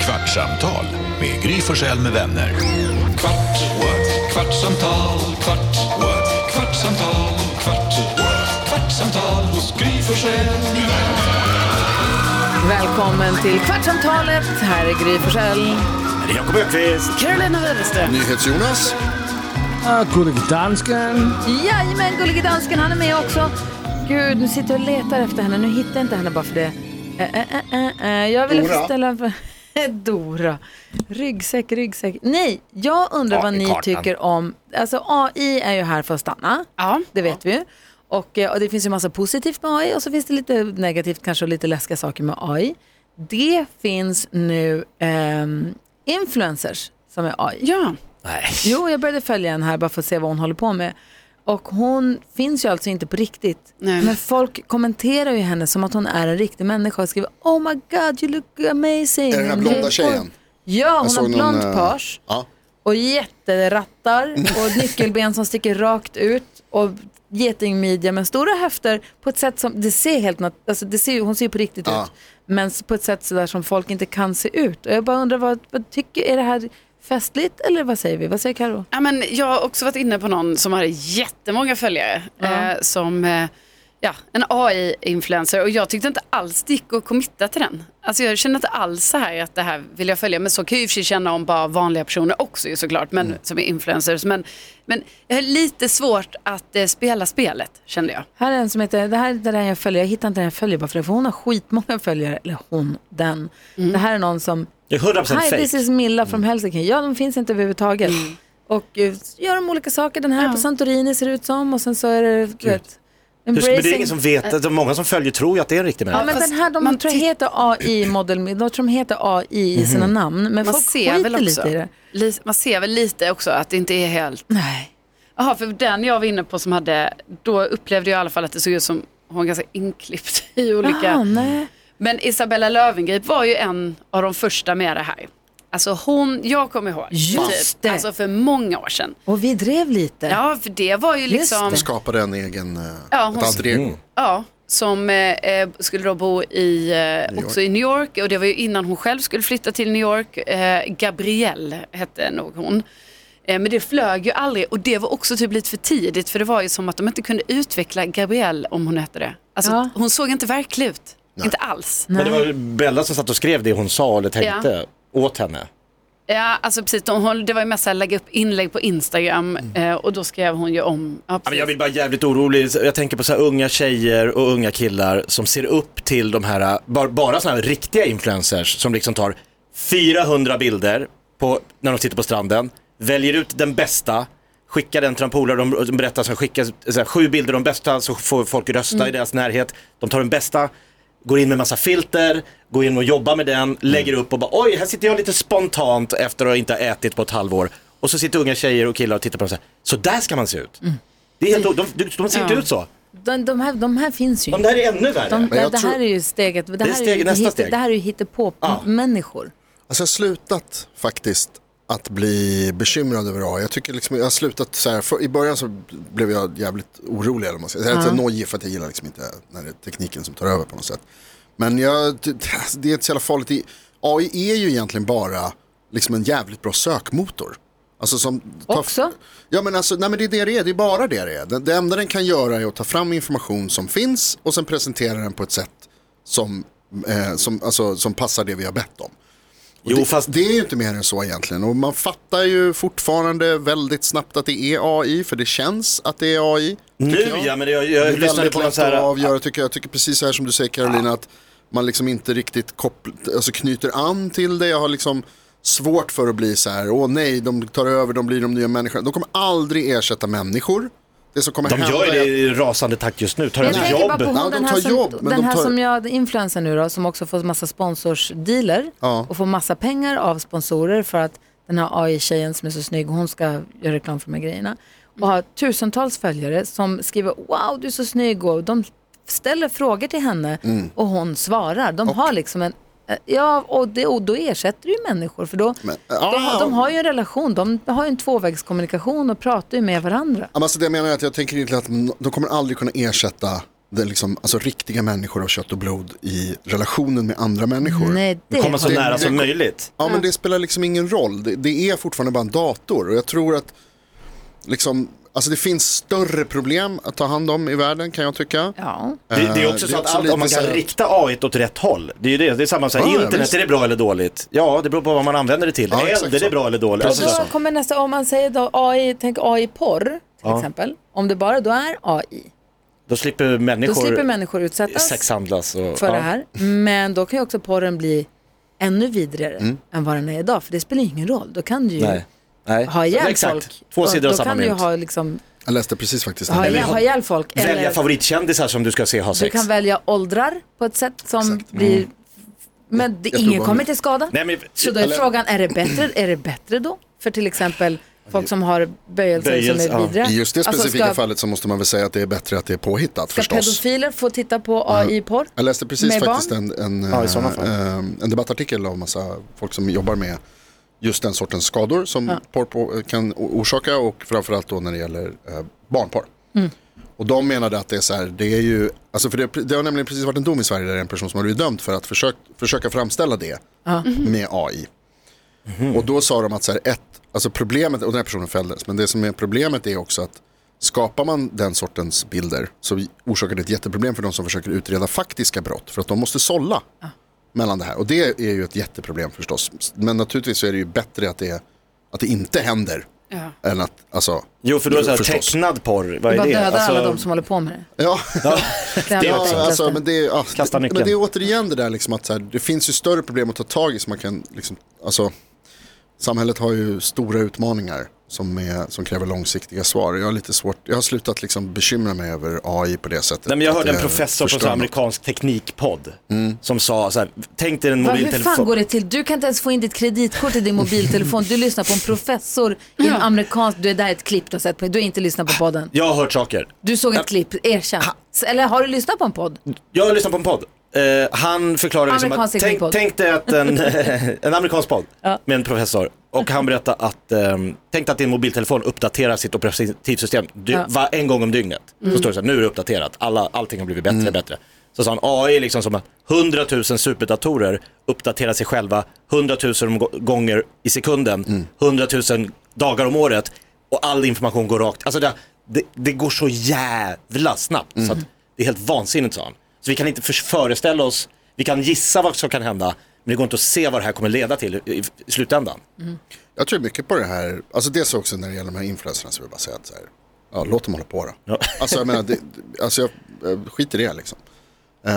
kvartsamtal med Gry Forssell med vänner. Kvart, what? kvartsamtal, kvart, what? kvartsamtal, kvart, what? kvartsamtal hos Gry Forssell med vänner. Välkommen till Kvartsamtalet. Här är Gry Forssell. Jakob Öqvist. Carolina Widerström. NyhetsJonas. Gullige dansken. Jajamän, gullige dansken, han är med också. Gud, nu sitter jag och letar efter henne. Nu hittar jag inte henne bara för det. Eh, eh, eh, eh. Jag ville få Dora. ställa... Dora. Ryggsäck, ryggsäck. Nej, jag undrar Ja, vad i ni kartan. tycker om... Alltså AI är ju här för att stanna. Ja. Det vet vi ju. Och, eh, och det finns ju massa positivt med AI och så finns det lite negativt kanske och lite läskiga saker med AI. Det finns nu ehm, influencers som är AI. Ja. Nej. Jo, jag började följa en här bara för att se vad hon håller på med. Och hon finns ju alltså inte på riktigt. Nej. Men folk kommenterar ju henne som att hon är en riktig människa och skriver Oh my god, you look amazing. Är det den här Mm. blonda tjejen? Ja, hon såg har någon, blont eh, page Ja. och jätterattar och nyckelben som sticker rakt ut och getingmidja med stora höfter på ett sätt som, det ser helt nat- alltså det ser, ju- hon ser ju på riktigt Ja. ut, men s- på ett sätt så där som folk inte kan se ut. Och jag bara undrar, vad, vad tycker, är det här festligt eller vad säger vi? Vad säger Karo? Ja, men jag har också varit inne på någon som har jättemånga följare. Eh, som eh, ja, en AI-influencer. Och jag tyckte inte alls det gick att committa till den. Alltså jag känner inte alls så här att det här vill jag följa. Men så kan jag ju i och för sig känna om bara vanliga personer också ju såklart. Men Mm. som är influencers. Men, men jag har lite svårt att eh, spela spelet kände jag. Här är en som heter, det här är inte den jag följer, jag hittar inte den jag följer bara för det, för hon har skitmånga följare, eller hon, den. Mm. Det här är någon som Det är 100% Hi, this fake. Mm. is Milla från Helsinki. Ja, de finns inte överhuvudtaget. Mm. Och eh, gör de olika saker. Den här på Santorini ser det ut som och sen så är det, du vet, Hur, men det är embracing. ingen som vet, att- många som följer tror ju att det är en riktig Ja, människa. men Fast den här, de man tror jag titt- heter AI model, de tror de heter AI Mhm. i sina namn, men Man folk ser, väl skiter också, lite i det. li, man ser väl lite också att det inte är helt Nej. Jaha, för den jag var inne på som hade, då upplevde jag i alla fall att det såg ut som hon var ganska inklippt i olika. Jaha, Ah, nej. Men Isabella Löwengrip var ju en av de första med det här. Alltså hon, jag kommer ihåg, Just det. alltså för många år sedan. Och vi drev lite. Ja, för det var ju Just liksom, Hon skapade en egen, eh, Ja, hon- ett alter ego. ja, som eh, eh, skulle då bo i, eh, också i New York och det var ju innan hon själv skulle flytta till New York. Eh, Gabrielle hette nog hon. Eh, Men det flög ju aldrig och det var också typ lite för tidigt för det var ju som att de inte kunde utveckla Gabrielle om hon hette det. Alltså Ja. hon såg inte verklig ut. Inte alls. Men det var ju Bella som satt och skrev det hon sa eller tänkte åt henne. Ja, alltså precis. De, hon, det var ju mest att lägga upp inlägg på Instagram eh, och då skrev hon ju om. Ja, Ja, men precis. jag blir bara jävligt orolig. Jag tänker på så här unga tjejer och unga killar som ser upp till de här, bara, bara såna här riktiga influencers som liksom tar 400 bilder på, när de sitter på stranden, väljer ut den bästa, skickar den till en polare, de de berättar så här, skickar så här, sju bilder, de bästa, så får folk rösta Mm. i deras närhet. De tar den bästa, går in med massa filter, går in och jobbar med Mm. den, lägger upp och bara oj, här sitter jag lite spontant efter att inte ha ätit på ett halvår. Och så sitter unga tjejer och killar och tittar på dem så här, så där ska man se ut. Mm. Det är helt, de, de, de ser inte Ja. ut så. De, de, här, de här finns ju De inte. där är ännu värre. De, Men jag det tror- här är ju steget, det, är här är steg- ju nästa hitte- steg. det här är ju hittepå-människor. Alltså jag har slutat faktiskt att bli bekymrad över AI. Jag tycker liksom, jag har slutat så här, för, i början så blev jag jävligt orolig eller vad man ska säga. Jag är lite nojig för att jag gillar liksom inte när det är tekniken som tar över på något sätt. Men jag, ty- alltså, det är inte så jävla farligt. I- AI är ju egentligen bara liksom en jävligt bra sökmotor. Alltså som tar- Också? Ja men alltså, nej men det är det det är, det är bara det det är. Det, det enda den kan göra är att ta fram information som finns och sen presentera den på ett sätt som, eh, som, alltså, som passar det vi har bett om. Och Jo, det, fast- det är ju inte mer än så egentligen. Och man fattar ju fortfarande väldigt snabbt att det är AI, för det känns att det är AI. nu ja, men jag, jag, Det är lyssnade väldigt på någon lätt så här, att avgöra, tycker jag. Jag tycker precis så här som du säger Carolina, att man liksom inte riktigt koppl- alltså knyter an till det. Jag har liksom svårt för att bli så här, åh nej, de tar över, de blir de nya människorna. De kommer aldrig ersätta människor. Det som kommer de hända gör ju är det att- i rasande takt just nu, tar Jag över tänker bara på jobb. hon, Alltså, Ja, de den här, tar som, jobb, men den de här tar- som jag, influencer nu då, som också får massa sponsorsdealer Ja. och får massa pengar av sponsorer för att den här AI-tjejen som är så snygg, hon ska göra reklam för de här grejerna. Och har tusentals följare som skriver wow du är så snygg och de ställer frågor till henne Mm. och hon svarar. De har liksom en Ja, och, det, och då ersätter du ju människor för då, Men- de, de har ju en relation, de har ju en tvåvägskommunikation och pratar ju med varandra. Ja, men Alltså det jag menar är att jag tänker egentligen att de kommer aldrig kunna ersätta det är liksom, alltså riktiga människor av kött och blod i relationen med andra människor. Nej, det Komma så Det- nära det- som möjligt. Ja, men det spelar liksom ingen roll. Det, det är fortfarande bara en dator och jag tror att liksom, alltså det finns större problem att ta hand om i världen kan jag tycka. Ja. Det, det är också Eh, så det är att också allt, om man lite kan så här- rikta AI åt rätt håll. Det är ju det, det är samma sak. Ja, ja, Internet, visst. är det bra eller dåligt? Ja, det beror på vad man använder det till. Ja, exakt Eld, är det så. bra eller dåligt? Och Alltså, då kommer nästa, om man säger då AI, tänk AI-porr till exempel. Om det bara då är AI, då slipper då människor slipper människor utsättas sexhandlas. Och, för ja. det här. Men då kan ju också porren bli ännu vidrigare än vad den är idag. För det spelar ju ingen roll. Då kan du ju Mm. Nej. Nej. ha ihjäl Exakt. folk. Två sidor av då samma kan du ju mynt. ha, liksom, Jag läste precis faktiskt. ha, den. ihjäl, ha ihjäl folk. Välja Eller favoritkändisar som du ska se ha du sex. kan välja åldrar på ett sätt som blir... Men det, Mm. tror ingen bara- kommer till skada. Nej, men, Så då är frågan, är det bättre, är det bättre då? För till exempel folk som har böjelser Böjelse, som ja. är vidriga. Alltså, I just det specifika ska, fallet så måste man väl säga att det är bättre att det är påhittat Ska förstås. pedofiler få titta på AI-porr? Jag läste precis med faktiskt barn? en, en, Ja, i sådana fall. eh, en debattartikel av massa folk som jobbar med just den sortens skador som porr på, kan o- orsaka och framförallt då när det gäller eh, barnporr. Och de menade att det är så här, det är ju, alltså för det, det har nämligen precis varit en dom i Sverige där en person som har blivit dömd för att försök, försöka framställa det med AI. Mhm. Och då sa de att så här, ett, alltså problemet, och den här personen fälldes, men det som är problemet är också att skapar man den sortens bilder så orsakar det ett jätteproblem för de som försöker utreda faktiska brott, för att de måste sålla mellan det här. Och det är ju ett jätteproblem förstås. Men naturligtvis så är det ju bättre att det, att det inte händer. Ja. Än att, alltså, Jo, för då är det så här, förstås. tecknad porr, vad Bara är det? döda Alltså, alla de som håller på med det. Ja, Det hade det varit enklast. också. alltså, men, det är, ja, Kasta men nyckeln. det är återigen det där liksom att så här, det finns ju större problem att ta tag i som man kan, liksom, alltså, samhället har ju stora utmaningar som, är, som kräver långsiktiga svar. Jag har lite svårt, jag har slutat liksom bekymra mig över AI på det sättet. Nej, men jag Att eh, hörde en det professor på förstör en sån här något. amerikansk teknikpodd som sa så här, tänk dig en Va, hur fan går mobiltelefon. det till? Du kan inte ens få in ditt kreditkort i din mobiltelefon. Du lyssnar på en professor i en amerikansk... Du är där ett klipp du har sett på. Du har inte lyssnat på podden. Jag har hört saker. Du såg ett klipp, erkänn. S- Eller har du lyssnat på en podd? Jag har lyssnat på en podd. Eh, han förklarar liksom att, Amerikansk tänk, teknikpodd. tänk dig att en, eh, en amerikansk podd med en professor och han berättar att, ehm, tänk dig att din mobiltelefon uppdaterar sitt operativsystem dy- Ja. va, en gång om dygnet. Så står det så här, nu är det uppdaterat, Alla, allting har blivit bättre och bättre. Så sa han, AI är liksom som att 100 000 superdatorer uppdaterar sig själva 100 000 omg- gånger i sekunden, 100 000 dagar om året och all information går rakt. Alltså det, det, det går så jävla snabbt så att det är helt vansinnigt sa han. Så vi kan inte förs- föreställa oss, vi kan gissa vad som kan hända men det går inte att se vad det här kommer leda till i, i, i slutändan. Jag tror mycket på det här, alltså dels också när det gäller de här influencerna så vill jag bara säga att så här, ja, låt dem hålla på då. Ja. Alltså jag menar, det, alltså jag, jag skiter i det liksom. Eh,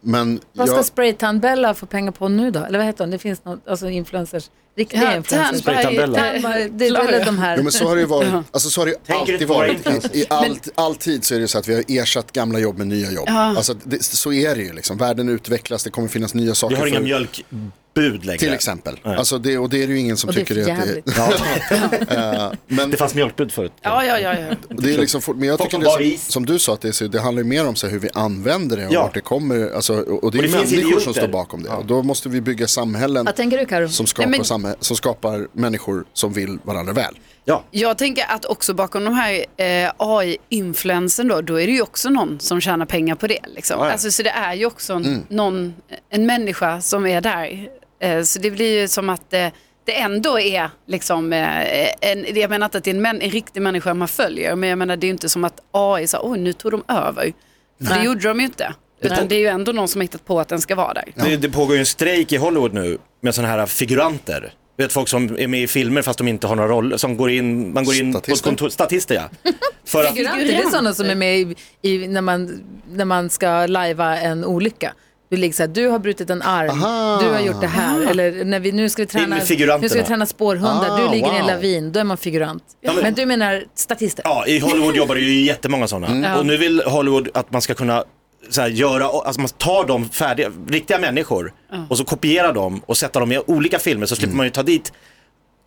men Vad ska jag, Spraytan-Bella få pengar på nu då? Eller vad heter hon? Det finns något, alltså influencers. Riktiga Ja, influencers. Tan- Spraytan-Bella. tan- Tan- Det är väl de här. jo, men så har det ju varit, alltså så har det ju Tänker inte alltid på varit. influencers. I, i allt, all tid så är det ju så att vi har ersatt gamla jobb med nya jobb. Alltså det, så är det ju liksom, världen utvecklas, det kommer finnas nya Vi saker. har inga för- mjölkbud längre. till exempel. Alltså det, och det är det ju ingen som Och det är tycker för att jävligt. det Ja, är. men, det fanns mjölkbud förut. Ja, ja, ja. ja. Det är liksom, fort- men jag Folk tycker som det, är som, bar is. som du sa, att det, är, så- det handlar ju mer om så här, hur vi använder det och Ja. vart det kommer. Alltså, och, och det är Och det finns människor som idioter. står bakom det. Och då måste vi bygga samhällen Vad tänker du Karo? som, skapar Nej, men- samhä- som skapar människor som vill varandra väl. Ja. Jag tänker att också bakom de här eh, AI-influensen då, då är det ju också någon som tjänar pengar på det. Liksom. Ja, ja. Alltså, så det är ju också en, någon, en människa som är där. Eh, så det blir ju som att eh, det ändå är liksom, eh, en, jag menar inte att det är en, män, en riktig människa man följer, men jag menar det är ju inte som att AI sa, oj nu tog de över. För det Nej. gjorde de ju inte. Utan det är ju ändå någon som har hittat på att den ska vara där. Det, det pågår ju en strejk i Hollywood nu med sådana här figuranter. Du vet folk som är med i filmer fast de inte har några roller, som går in, man går in på ett Statister. kontor, statister ja. För att, Figuranter, det är sådana som är med i, i, när, man, när man ska lajva en olycka. Du, ligger så här, du har brutit en arm, Aha. du har gjort det här. Eller när vi, nu ska vi träna, med figuranterna. nu ska vi träna spårhundar, Ah, du ligger i en wow. lavin, då är man figurant. men- Men du menar statister? ja, i Hollywood jobbar det ju jättemånga sådana. Och nu vill Hollywood att man ska kunna så här, göra, alltså man tar de färdiga, riktiga människor och så kopierar dem och sätter dem i olika filmer så slipper man ju ta dit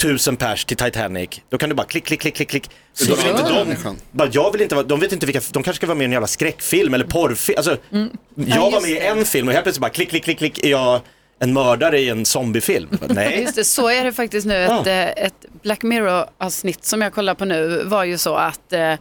tusen pers till Titanic. Då kan du bara klick, klick, klick, klick, klick. Så då vill gör inte de, människan. bara, jag vill inte, vara- de vet inte vilka, de kanske ska vara med i en jävla skräckfilm eller porrfilm. Alltså, Jag var med i en film och helt plötsligt bara klick, klick, klick, klick är jag en mördare i en zombiefilm. Bara, Nej. Just det, så är det faktiskt nu. Ett, Ja. eh, ett Black Mirror-avsnitt som jag kollar på nu var ju så att eh,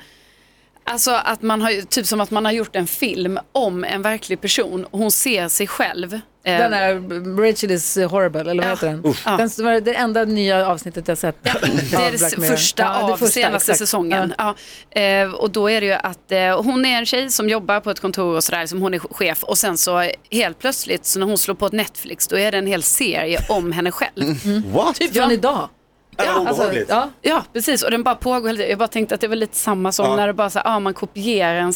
Alltså att man har, typ som att man har gjort en film om en verklig person. Hon ser sig själv. Eh, Den är Rachel is horrible, eller vad Ja. heter den? Ja. Den som var det enda nya avsnittet jag sett. Det är det första av senaste säsongen. Ja. Eh, och då är det ju att eh, hon är en tjej som jobbar på ett kontor och sådär, som hon är chef. Och sen så eh, helt plötsligt, så när hon slår på ett Netflix, då är det en hel serie om henne själv. What? Typ från Ja. idag. Ja, alltså, Alltså, obehagligt. ja. Ja, precis. Och den bara pågår hela tiden. Jag bara tänkte att det var lite samma som Ja. när det bara så här, ah, man kopierar en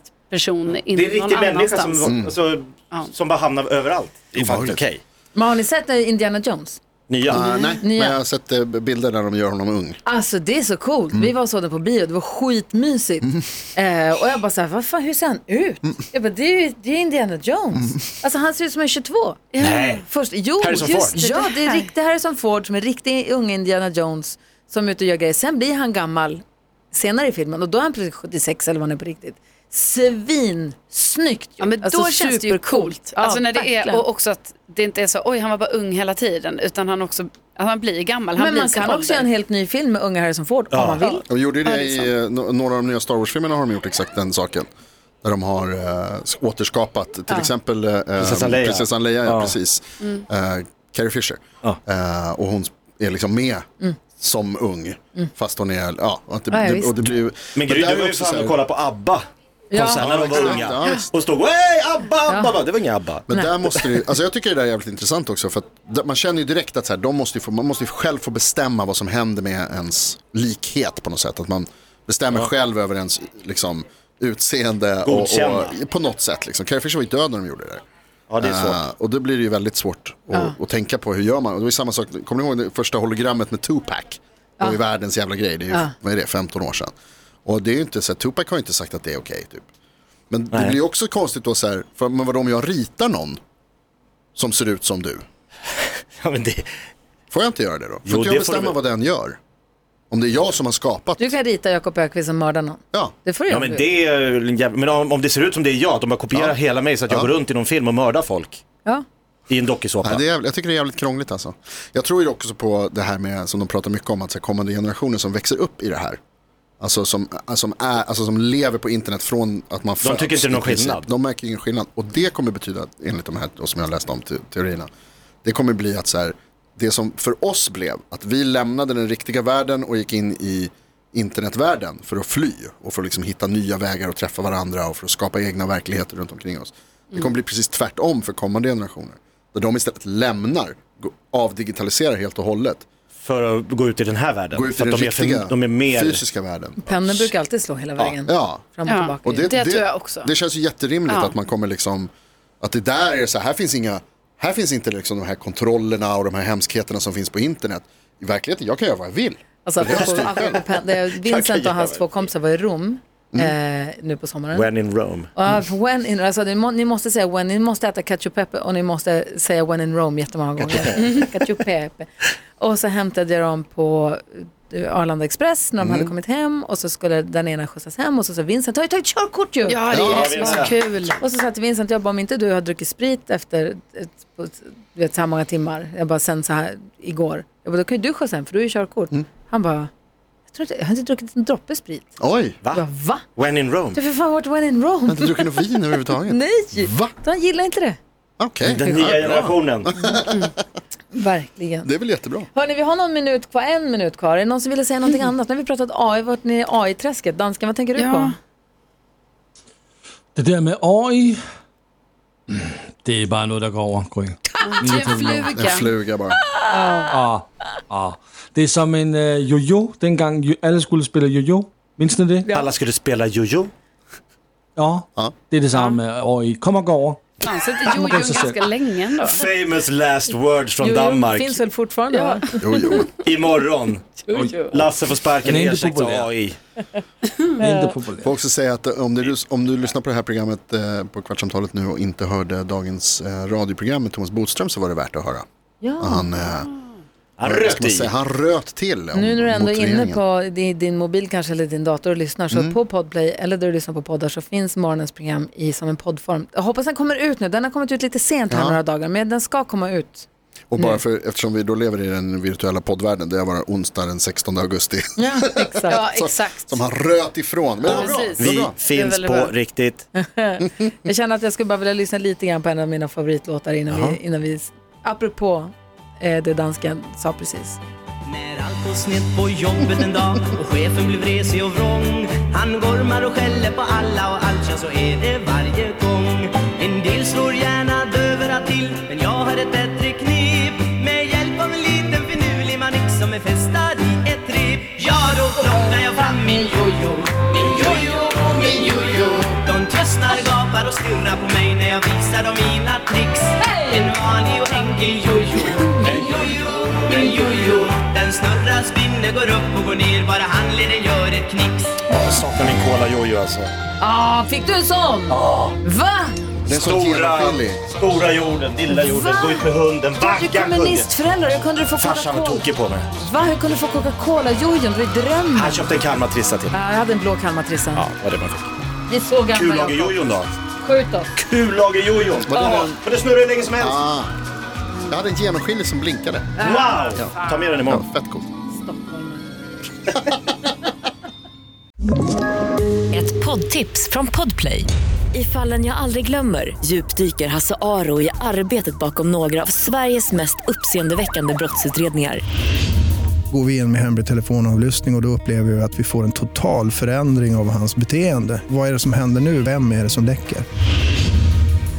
statistperson in Det är en någon riktig människa annanstans. som, Mm. alltså, som bara hamnar överallt. Det är fan inte Obehagligt. okej. Men har ni sett eh, Indiana Jones? Nya. Ah, nej, men Nya. jag har sett eh, bilder där de gör honom ung. Alltså det är så coolt. Mm. Vi var och såg den på bio, det var skitmysigt. Eh, och jag bara såhär, vad fan, hur ser han ut? Mm. Jag bara, det är ju det är Indiana Jones. Alltså han ser ut som en 22. Nej. Först, jo, Harrison just Ford. det. Ja, det är här. rikt, det här är som Ford som är riktig ung Indiana Jones som är ute och gör grejer. Sen blir han gammal senare i filmen och då är han plötsligt 76 eller vad han är på riktigt. Svinsnyggt Alltså, Ja, men då känns det ju coolt. Ja, Alltså när det är, verkligen. och också att det inte är så, oj han var bara ung hela tiden, utan han också, att han blir gammal, han men blir man sin kan också ålder. göra en helt ny film med unga Harrison Ford om man vill. De gjorde ju det, Ja, det är i eh, no- några av de nya Star Wars-filmerna har de gjort exakt den saken. Där de har eh, s- återskapat till exempel eh, Prinsessan Leia. Prinsessan Leia ja, Ja. precis. Eh, Carrie Fisher. Ja. Eh, och hon är liksom med som ung. Fast hon är, ja. och Att det, Ja, ja, det, och det blir, ju- Men Gry, det där du var ju också fan så här- och kollade på ABBA. Ja. Konserten när de var exakt. unga. Ja, visst. och stod Hej, ABBA, ABBA. Bara, Det var inga ABBA. Men där måste det, ju- alltså jag tycker det där är jävligt intressant också. För att där- man känner ju direkt att så här, de måste ju få, man måste ju själv få bestämma vad som händer med ens likhet på något sätt. Att man bestämmer själv över ens liksom, utseende. Och, Godkänna. och, på något sätt. Liksom. Carrie Fisher var ju död när de gjorde det. där. Ja, det är svårt. Eh, och då blir det ju väldigt svårt att, att tänka på hur gör man. Och det är samma sak, kommer ni ihåg det första hologrammet med Tupac? Det var ju världens jävla grej, det är ju, vad är det, 15 år sedan. Och det är ju inte så här, Tupac har ju inte sagt att det är okej typ. Men det blir ju också konstigt då så här, för men vadå om jag ritar någon som ser ut som du? Ja, men det, Får jag inte göra det då? Får Jo, inte det jag får du bestämma väl. vad den gör? Om det är jag som har skapat, Du kan rita Jakob Ökvist som mördar någon. ja. Det får du ja, göra. men, det är, ju en jävla- men om, om det ser ut som det är jag, att de bara kopierar Ja. hela mig så att jag Ja. går runt i någon film och mördar folk ja. i en dokusåpa. Nej, det är, jävligt- jag tycker det är jävligt krångligt alltså. Jag tror ju också på det här med, som de pratar mycket om, att så här, kommande generationer som växer upp i det här. Alltså som, som, är, alltså som lever på internet från att man föds. tycker inte det är någon i princip. skillnad. De märker ingen skillnad. Och det kommer betyda, enligt de här och som jag har läst om te- teorierna, det kommer bli att så här, det som för oss blev, att vi lämnade den riktiga världen och gick in i internetvärlden för att fly och för att liksom hitta nya vägar och träffa varandra och för att skapa egna verkligheter runt omkring oss. Det kommer bli precis tvärtom för kommande generationer. Där de istället lämnar, gå- avdigitaliserar helt och hållet. För att gå ut i den här världen. Går ut i för den att de, är riktiga, för, de är mer... fysiska världen. Pendeln brukar alltid slå hela vägen. Ja, Fram och Ja. tillbaka. och det, Det tror jag också. Det känns ju jätterimligt Ja. att man kommer liksom, att det där är så här, här finns inga, här finns inte liksom de här kontrollerna och de här hemskheterna som finns på internet. I verkligheten, jag kan göra vad jag vill. Alltså, apropå, apropå pen, det, Vincent och hans jag- två kompisar var i Rom Mm. eh, nu på sommaren. When in Rome. Ja, when in, alltså, ni, må, ni måste säga when, ni måste äta ketchup pepper och ni måste säga when in Rome jättemånga gånger. Mm, ketchup pepper. Och så hämtade jag dem på eh, Arlanda Express när Mm. de hade kommit hem och så skulle den ena skjutsas hem och så sa Vincent, har ju tagit körkort ju! Ja, det Ja, är visst. så kul. Och så sa jag till Vincent, jag bara, om inte du har druckit sprit efter ett, på, ett- du vet, så här många timmar, jag bara sen så här igår, jag bara, då kan ju du skjutsa hem för du har ju körkort. Han bara, jag, tror inte, jag har inte druckit en droppe sprit. Oj, Va? Jag bara, va? When in Rome. Du har för fan varit when in Rome. du druckit något vin överhuvudtaget? Nej, Va? han gillar inte det. Okej. Den nya generationen. Verkligen. Det är väl jättebra. Hörni, vi har någon minut kvar, en minut kvar. Är det någon som ville säga någonting annat? Nu har vi pratat AI, vart ni i AI-träsket. Dansken, vad tänker du på? Ja. Det der med AI, mm, det er bare noget, der går over, Gry. Det är en En fluga. fluga bara. Det er som en øh, jojo, dengang jo- alle skulle spille jojo. Minst ni det? Alla skulle spela jojo. Ja. Ja. Det er det samme med AI. Kom og gå over. Fanns inte jojon kanske ser- ganska länge ändå? Famous last words från Jo, jo, Danmark. finns väl fortfarande? va? Jo, jo. Imorgon. Lasse får sparken E Den är inte ersätts av populär. AI. Det er ikke populært. Får också säga att eh, om du, lys- om du lyssnar på det här programmet eh, på Kvartsamtalet nu och inte hörde dagens eh, radioprogram med Thomas Bodström så var det värt att höra. Ja. Han, eh, Han vad ska röt man i. säga, han röt till. om- Nu när du ändå mot är inne regeringen. på din, din mobil kanske eller din dator och lyssnar så på Podplay eller där du lyssnar på poddar så finns morgonens program i som en poddform. Jag hoppas den kommer ut nu. Den har kommit ut lite sent här Ja. några dagar men den ska komma ut Och bara för, eftersom vi då lever i den virtuella poddvärlden, det var onsdag den 16 augusti. Ja, exakt. Ja, Så- exakt. Som han röt ifrån. Men det var bra. precis. Det var Vi bra. finns väldigt på bra. riktigt. Jag känner att jag skulle bara vilja lyssna lite grann på en av mina favoritlåtar innan vi, innan vi apropå eh, det dansken sa precis. När allt går snett på jobbet en dag och chefen blev vresig och vrång Han gormar och skäller på alla och allt, ja så är det varje gång En del slår gärna dövöra till, men jag har ett bättre knep Med hjälp av en liten finurlig manick som är fästad i ett rep Ja, då plockar jag fram min jojo, min jojo och min jojo De tystnar, gapar och stirrar på mig när jag visar dem mina tricks En vanlig och enkel jojo, en jojo min jojo Den snurrar, spinner, går upp och går ner Bara handleden gör ett knix Jag saknar min Cola Jojo alltså. Ah, fick du en sån? Va? Det är en sån genomskinlig. stora jorden, lilla jorden, gå ut med hunden, Du vagga är hunden. kommunistförälder, hur kunde du få Farsan var Coca-Cola? tokig på mig. Va, hur kunde du få Coca-Cola? Jojon, det var ju drömmen. Han köpte en kalmatrissa till mig. Ah, Jag hade en blå Kalmartrissa. Ja, vad det man fick. Vi är så gamla. Jakob. Kullagerjojon då? Skjut oss. Kullagerjojon! Ja, för det snurrar hur länge som helst. Ah. Jag hade en genomskinlig som blinkade. Wow! Ta med den imorgon. Fett coolt. Ett poddtips från Podplay. I fallen jag aldrig glömmer djupdyker Hasse Aro i arbetet bakom några av Sveriges mest uppseendeväckande brottsutredningar. går vi in med hemlig telefonavlyssning och, och då upplever vi att vi får en total förändring av hans beteende. Vad är det som händer nu? Vem är det som läcker?